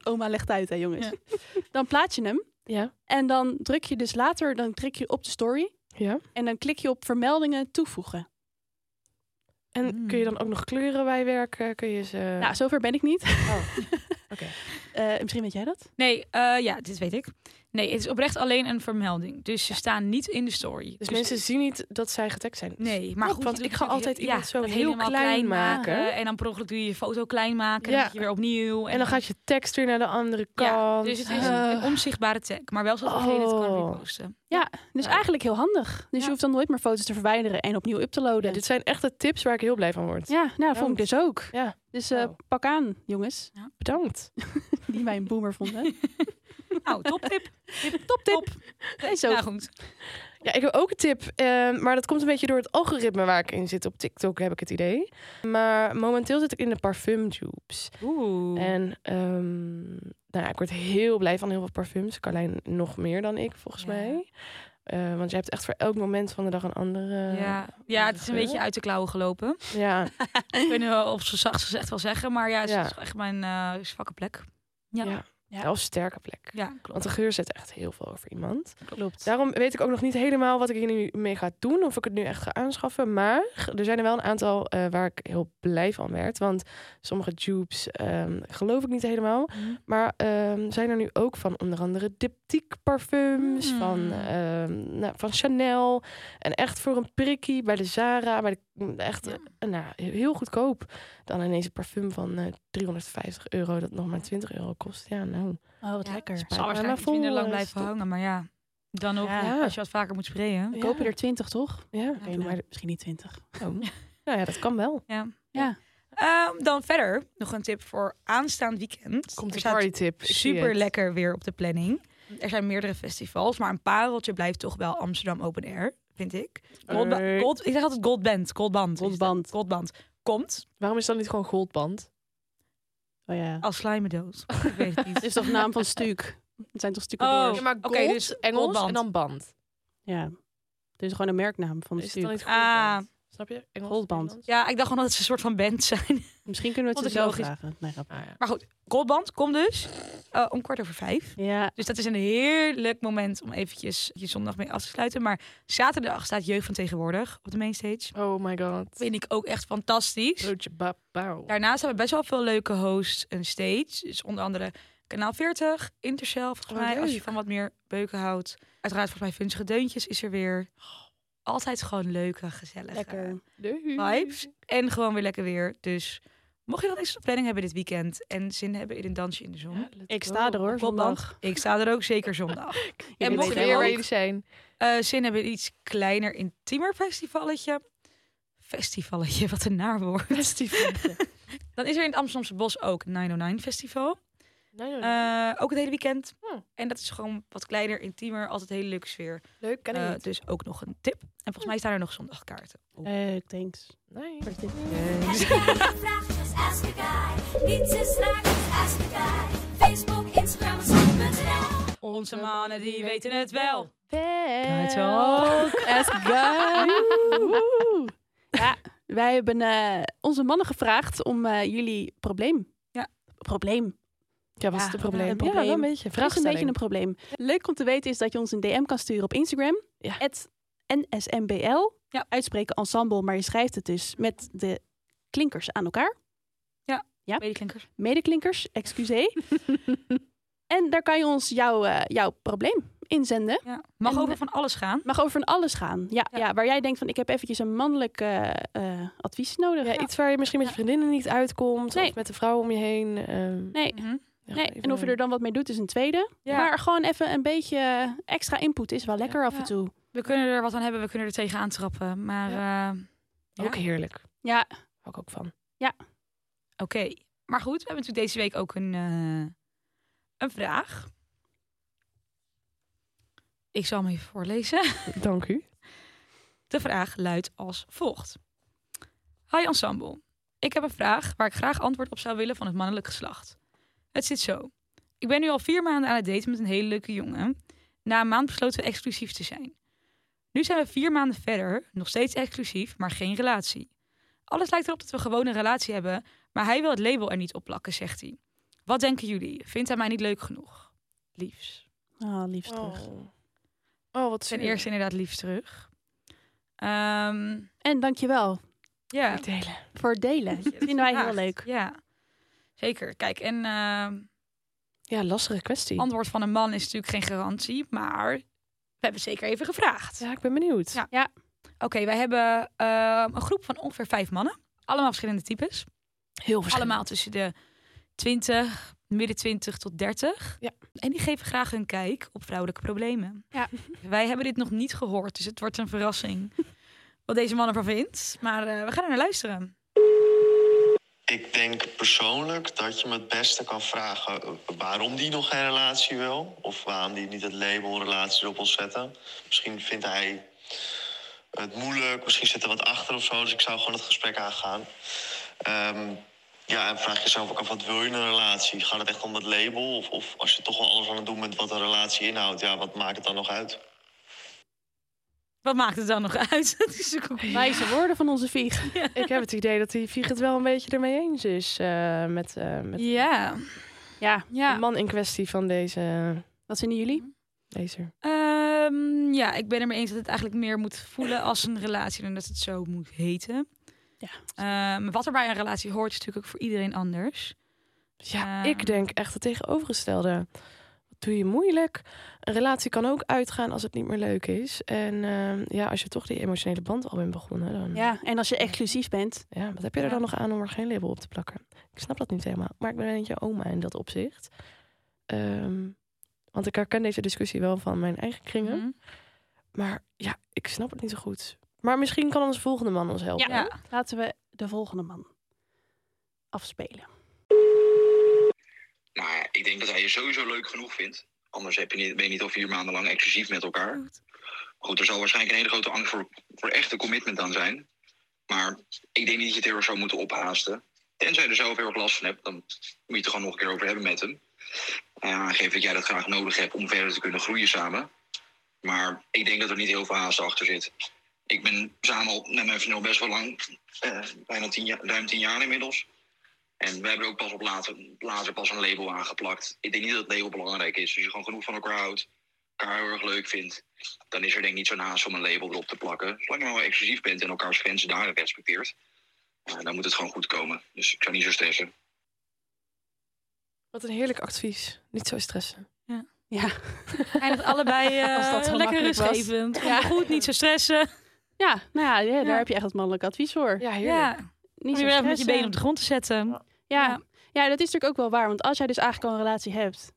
C: Oma legt uit, hè jongens.
A: Ja.
C: Dan plaats je hem.
D: Ja.
C: En dan druk je dus later, dan klik je op de story.
D: Ja.
C: En dan klik je op vermeldingen toevoegen.
D: En
A: Mm.
D: kun je dan ook nog kleuren bijwerken? Kun je ze... Dus
C: Nou, zover ben ik niet.
D: Oh. Oké.
C: Eh, misschien weet jij dat?
A: Nee, eh, ja, dit weet ik. Nee, het is oprecht alleen een vermelding. Dus ze staan niet in de story.
D: Dus mensen zien niet dat zij getagd zijn.
A: Nee, maar
D: Knap,
A: goed,
D: want
A: je
D: ik
A: doet
D: ga
A: natuurlijk-
D: altijd iemand zo
A: dat
D: heel
A: helemaal
D: klein maken.
A: En dan per ongeluk doe je je foto klein maken.
D: Ja.
A: En dan doe je weer opnieuw.
D: En dan gaat je tekst weer naar de andere kant. Ah.
A: Ja, dus het is een, een onzichtbare tag. Maar wel zodat degene het kan
D: Oh.
A: reposten.
C: Dus
A: Ja.
C: eigenlijk heel handig. Dus
A: Ja.
C: je hoeft dan nooit meer foto's te verwijderen en opnieuw up te
D: Ja,
C: loaden. Dus
D: Oh, dit zijn echte tips waar ik heel blij van word.
C: Ja, nou, dat vond ik
D: Bedankt.
C: dus ook.
D: Ja.
C: Dus eh,
D: Wauw.
C: pak aan, jongens,
D: Bedankt.
C: die mij een boomer vonden.
A: Nou, toptip.
C: Top tip. En zo.
A: Nou goed.
D: Ja, ik heb ook een tip. eh, maar dat komt een beetje door het algoritme waar ik in zit op TikTok, heb ik het idee. Maar momenteel zit ik in de parfumtubes.
A: Oeh.
D: En ehm, nou ja, ik word heel blij van heel veel parfums. Carlijn nog meer dan ik, volgens
A: Ja.
D: mij. Eh, want je hebt echt voor elk moment van de dag een andere...
A: eh, ja. ja, het is een
D: geur.
A: beetje uit de klauwen gelopen.
D: ja.
A: Ik weet niet wel of ze zacht gezegd wel zeggen. Maar ja, het
D: Ja.
A: is echt mijn eh, zwakke plek. Ja,
D: Ja.
A: ja.
D: Wel sterke plek. Want
A: klopt.
D: de geur zegt echt heel veel over iemand.
A: klopt.
D: Daarom weet ik ook nog niet helemaal wat ik hier nu mee ga doen. Of ik het nu echt ga aanschaffen. Maar er zijn er wel een aantal eh, waar ik heel blij van werd. Want sommige dupes ehm, geloof ik niet helemaal.
A: Mhm.
D: Maar ehm, zijn er nu ook van onder andere diptiek parfums.
A: Mm.
D: Van, ehm, nou, van Chanel. En echt voor een prikkie bij de Zara. Bij de, echt
A: Ja.
D: eh, nou, heel goedkoop. Dan ineens een parfum van eh, 350 euro. Dat nog maar 20 euro kost. Ja, nou.
C: Oh, wat
A: Ja.
C: lekker.
A: Het zal waarschijnlijk iets minder lang blijven
D: Stop.
A: hangen. Maar ja, dan nog.
D: Ja.
A: Als je wat vaker moet sprayen.
C: We kopen er 20, toch?
D: Ja,
C: Oké,
D: doe
C: nou,
D: maar de-
C: misschien niet 20.
D: oh. nou ja, dat kan wel.
A: Ja.
C: Ja.
A: Ehm, dan verder nog een tip voor aanstaand weekend.
D: Komt
A: er
D: een
A: staat
D: party tip.
A: super lekker weer op de planning. Er zijn meerdere festivals, maar een pareltje blijft toch wel Amsterdam Open Air, vind ik. Goldba-
D: Hey.
A: Gold, ik zeg altijd Goldband. Goldband. is het.
C: Goldband.
A: Goldband. Komt
D: Waarom is dat niet gewoon goldband?
C: Oh ja.
A: als slijmen dood. Ik weet het niet.
C: Dit is toch naam van Stuuk? Het zijn toch
A: Oh,
C: stucadoors?
A: ja, maar gold, oké, dus Engels goldband. en dan
D: band.
C: Ja. Dit is gewoon een merknaam van
D: Is het dan
C: Stuuk.
D: niet
A: Ah.
D: goldband? Snap je? Engels,
C: Goldband.
D: Nederlands?
A: Ja, ik dacht gewoon dat ze een soort van band zijn.
C: Misschien kunnen we het
A: Vond ik
C: er zo
A: logisch.
C: graven. Nee, grap.
D: Ah, ja.
A: Goldband komt dus eh, om kwart over vijf.
C: Ja,
A: Dus dat is een heerlijk moment om eventjes je zondag mee af te sluiten. Maar zaterdag staat Jeugd van Tegenwoordig op de mainstage.
D: Oh my god.
A: Vind ik ook echt fantastisch.
D: Broodje babauw.
A: Daarnaast hebben we best wel veel leuke hosts en stage. Dus onder andere Kanaal 40, Intercel, volgens
D: Oh,
A: mij. Als je
D: leuk.
A: van wat meer beuken houdt. Uiteraard, volgens mij, Vunzige Deuntjes is er weer. Altijd gewoon leuke, gezellige
C: lekker.
A: vibes. En gewoon weer lekker weer. Dus mocht je nog niks op de planning hebben dit weekend... en zin hebben in een dansje in de zon...
C: Ik sta er hoor,
A: Goldband.
C: zondag.
A: Ik sta er ook zeker zondag.
C: Jullie
A: mocht
C: weten
A: je
C: helemaal
A: weer-
C: niet.
D: zijn.
A: Eh, zin hebben in iets kleiner, intiemer festivalletje. Festivalletje, wat een naar woord.
D: Festival.
A: Dan is er in het Amsterdamse Bos ook 909 Festival. Eh, ook het hele weekend.
D: Oh.
A: En dat is gewoon wat kleiner, intiemer, altijd een hele leuke sfeer.
D: Leuk, ken ik
A: Eh,
D: niet.
A: dus ook nog een tip. En volgens mij staan er nog zondagkaarten. op.
C: Eh, thanks.
D: Nee.
F: dus Facebook, Instagram, Snapchat.
A: Onze mannen die weten het wel.
D: Wel.
C: Ask guy. Woe. Ja, wij hebben eh, onze mannen gevraagd om eh, jullie probleem.
A: Ja.
C: Probleem.
D: Ja, wat is
A: Ja,
D: het probleem?
C: een
D: Ja, wel
C: probleem.
D: een beetje.
C: Dat is een beetje een
D: Vraagstelling.
C: probleem. Leuk om te weten is dat je ons een DM kan sturen op Instagram.
D: Ja.
C: Het NSMBL.
A: Ja.
C: Uitspreken ensemble, maar je schrijft het dus met de klinkers aan elkaar.
A: Medeklinkers.
C: Medeklinkers, excuseer. en daar kan je ons jouw, eh, jouw probleem inzenden.
A: Ja. Mag
C: En-
A: over van alles gaan.
C: Mag over van alles gaan. Ja, ja.
A: Ja.
C: waar jij denkt van ik heb eventjes een mannelijk eh, eh, advies nodig.
D: Ja, iets waar je misschien met je vriendinnen niet uitkomt.
C: Nee.
D: Of met de vrouw om je heen. ehm,
C: Nee.
A: Mhm.
D: ja,
C: Nee,
D: even
C: en of je
D: een-
C: er dan wat mee doet is een tweede.
A: Ja.
C: Maar gewoon even een beetje eh, extra input is wel lekker af en
A: Ja.
C: toe.
A: We kunnen er wat aan hebben, we kunnen er tegenaan trappen. Maar eh, Ja.
D: Ook heerlijk.
C: Ja,
D: Hou ik ook van.
A: oké. Maar goed, we hebben natuurlijk deze week ook een, eh, een vraag. Ik zal hem even voorlezen.
D: Dank u.
A: De vraag luidt als volgt. Hi Ensemble. Ik heb een vraag waar ik graag antwoord op zou willen van het mannelijk geslacht. Het zit zo. Ik ben nu al vier maanden aan het daten met een hele leuke jongen. Na een maand besloten we exclusief te zijn. Nu zijn we vier maanden verder, nog steeds exclusief, maar geen relatie. Alles lijkt erop dat we gewoon een relatie hebben, maar hij wil het label er niet op plakken, zegt hij. Wat denken jullie? Vindt hij mij niet leuk genoeg? Liefs.
C: Oh, liefst terug.
D: Oh. oh, wat
A: Ten
D: zuur.
A: eerste inderdaad liefst terug. Ehm,
C: En dankjewel
A: ja.
D: Niet delen.
C: voor het delen.
A: Dat je dat
C: Vinden wij heel
A: vraagt.
C: leuk.
A: Ja, zeker. Kijk, en ehm,
D: Ja, lastige kwestie.
A: antwoord van een man is natuurlijk geen garantie, maar we hebben zeker even gevraagd.
D: Ja, ik ben benieuwd.
A: Ja. Oké, wij hebben ehm, een groep van ongeveer vijf mannen. Allemaal verschillende types.
D: Heel verschillend.
A: Allemaal tussen de 20, midden 20 tot 30.
D: Ja.
A: En die geven graag hun kijk op vrouwelijke problemen.
C: Ja.
A: Wij hebben dit nog niet gehoord, dus het wordt een verrassing wat deze man ervan vindt. Maar eh, we gaan er naar luisteren.
G: Ik denk persoonlijk dat je me het beste kan vragen eh, waarom die nog geen relatie wil. Of waarom die niet het label relatie erop wil zetten. Misschien vindt hij het moeilijk, misschien zit er wat achter of zo. Dus ik zou gewoon het gesprek aangaan. Ehm, ja, en vraag jezelf ook af, wat wil je in een relatie? Gaat het echt om het label? Of, of als je toch wel alles aan het doen bent wat een relatie inhoudt, ja, wat maakt het dan nog uit?
A: Wat maakt het dan nog uit? Het is natuurlijk ook
C: Wijze woorden van onze vieg.
D: Ik heb het idee dat die Vieg het wel een beetje ermee eens is. eh, met eh, met
A: Ja,
C: Ja,
D: de man in kwestie van deze
C: wat vinden jullie?
D: lezer.
A: Ehm, ja, ik ben er mee eens dat het eigenlijk meer moet voelen als een relatie dan dat het zo moet heten.
C: Ja.
A: Ehm, wat er bij een relatie hoort, is natuurlijk ook voor iedereen anders.
D: Dus Ja,
A: Ehm.
D: ik denk echt het tegenovergestelde. Wat doe je moeilijk? Een relatie kan ook uitgaan als het niet meer leuk is. En ehm, ja, als je toch die emotionele band al bent begonnen,
A: Mm.
D: dan
C: Ja, en als je exclusief bent.
D: Ja, wat heb je er dan nog aan om er geen label op te plakken? Ik snap dat niet helemaal, maar ik ben een beetje oma in dat opzicht. Ehm, want ik herken deze discussie wel van mijn eigen kringen.
A: Mhm.
D: Maar ja, ik snap het niet zo goed. Maar misschien kan onze volgende man ons helpen.
A: Ja.
C: Laten we de volgende man afspelen.
H: Nou ja, ik denk dat hij je sowieso leuk genoeg vindt. Anders heb je niet, ben je niet al vier maanden lang exclusief met elkaar. Maar Goed, er zal waarschijnlijk een hele grote angst voor, voor echte commitment aan zijn. Maar ik denk niet dat je het heel erg zou moeten ophaasten. Tenzij je er zelf heel erg last van hebt, dan moet je het er gewoon nog een keer over hebben met hem. En aangeven dat jij dat graag nodig hebt om verder te kunnen groeien samen. Maar ik denk dat er niet heel veel haast achter zit. Ik ben samen al met mijn vriendin al best wel lang, eh, bijna tien jaar, ruim tien jaar inmiddels. En we hebben ook pas op later, later pas een label aangeplakt. Ik denk niet dat het label belangrijk is. Als je gewoon genoeg van elkaar houdt, elkaar heel erg leuk vindt, dan is er denk ik niet zo'n haast om een label erop te plakken. Zolang je wel exclusief bent en elkaars grenzen daarin respecteert, eh, dan moet het gewoon goed komen. Dus ik zou niet zo stressen.
D: Wat een heerlijk advies. Niet zo stressen.
C: Ja,
A: Eindigt allebei eh,
C: Als dat zo
A: lekker
C: makkelijk was.
A: rustgevend.
C: Ja.
A: Ja. Goed, niet zo stressen.
C: ja nou ja, ja, daar
A: Ja.
C: heb je echt het mannelijk advies voor.
D: Ja, heerlijk.
A: Ja,
C: Niet
A: om
C: zo
A: je weer even met je
C: stressen.
A: benen op de grond te zetten.
C: Ja. ja, dat is natuurlijk ook wel waar. Want als jij dus eigenlijk al een relatie hebt,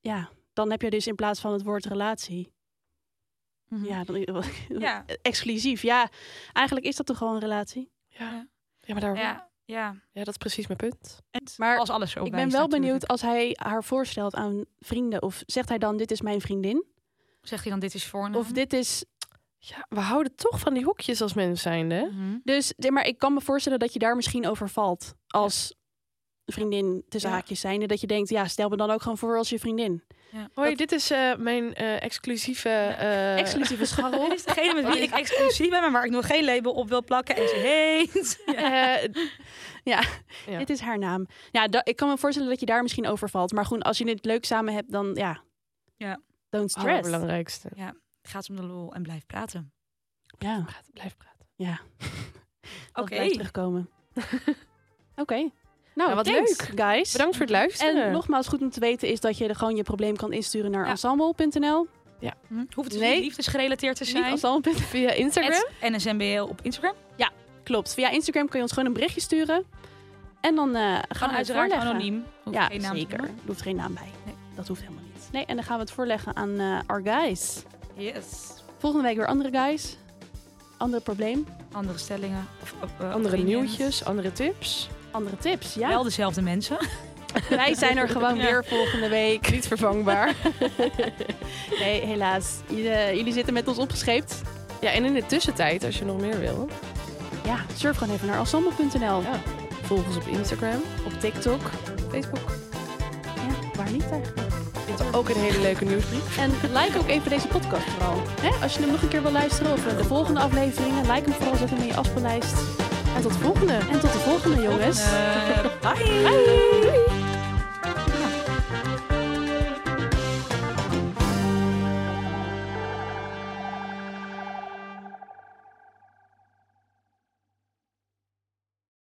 C: ja, dan heb je dus in plaats van het woord relatie,
A: Mhm.
C: ja, dan,
A: Ja.
C: exclusief. Ja, eigenlijk is dat toch gewoon een relatie.
D: Ja.
A: Ja.
D: Ja, maar daar, ja.
A: ja. ja.
D: dat is precies mijn punt.
C: Maar
A: Als alles zo
C: ik
A: bij
C: ben
A: staat
C: wel benieuwd
A: natuurlijk.
C: als hij haar voorstelt aan vrienden. Of zegt hij dan, dit is mijn vriendin?
A: Zegt hij dan, dit is voor nou?"
C: Of dit is...
D: Ja, we houden toch van die hokjes als mens zijnde.
A: Mhm.
C: Dus, nee, maar ik kan me voorstellen dat je daar misschien over valt. Als vriendin tussen
D: Ja.
C: haakjes zijnde. Dat je denkt, ja, stel me dan ook gewoon voor als je vriendin.
D: Hoi,
C: Dat-
D: dit is eh, mijn eh, exclusieve... eh,
C: Exclusieve scharrel.
A: Dit is degene met
C: Oh.
A: wie ik exclusief ben, maar waar ik nog geen label op wil plakken en ze heet.
D: eh, Ja.
C: Dit is haar naam. Ja, da- ik kan me voorstellen dat je daar misschien over valt. Maar goed, als je het leuk samen hebt, dan ja.
A: Ja.
C: Don't
D: het
C: stress.
D: allerbelangrijkste.
A: Gaat om de lol en blijf praten.
C: ja,
D: Praat, blijf praten.
A: Oké.
C: dat blijft terugkomen. Oké. Nou,
D: Nou, wat
C: thanks,
D: leuk.
C: guys.
D: Bedankt voor het luisteren.
C: En nogmaals, goed om te weten is dat je er gewoon je probleem kan insturen naar
A: Ja.
C: ensemble.nl.
A: Hm? Hoeft het
C: Nee.
A: niet liefdesgerelateerd te
C: Niet
A: zijn?
C: ensemble.nl.
D: via Instagram.
A: Het NSMBL op Instagram.
C: Klopt. Via Instagram kun je ons gewoon een berichtje sturen. En dan eh, gaan
A: Gewoon
C: we het
A: uiteraard
C: voorleggen.
A: anoniem. Hoef
C: Ja,
A: geen naam te
C: zeker. Er
A: noemen.
C: hoeft geen naam bij.
A: Nee.
C: Dat hoeft helemaal niet. Nee, en dan gaan we het voorleggen aan eh, our guys.
A: Yes.
C: Volgende week weer andere guys. Andere probleem.
A: Andere stellingen. Of, of, eh,
D: Andere
A: opinions.
D: nieuwtjes, andere tips.
C: Andere tips. Ja,
A: Wel dezelfde mensen.
C: wij zijn er gewoon
A: Ja.
C: weer volgende week.
D: Niet vervangbaar.
C: Nee, helaas. Jullie, eh, jullie zitten met ons opgescheept.
D: ja, en in de tussentijd, als je nog meer wil,
C: Ja, surf gewoon even naar ensemble.nl.
D: Ja. volg ons op Instagram,
C: Op TikTok.
D: Facebook.
C: Ja, waar niet eigenlijk.
D: Je hebt ook een hele leuke nieuwsbrief.
C: En like ook even deze podcast vooral. Hè? Als je hem nog een keer wil luisteren of eh, de volgende afleveringen, like hem vooral, zet hem in je afspeellijst.
D: En tot volgende.
C: En tot de volgende, jongens.
A: Eh, bye.
C: Doei.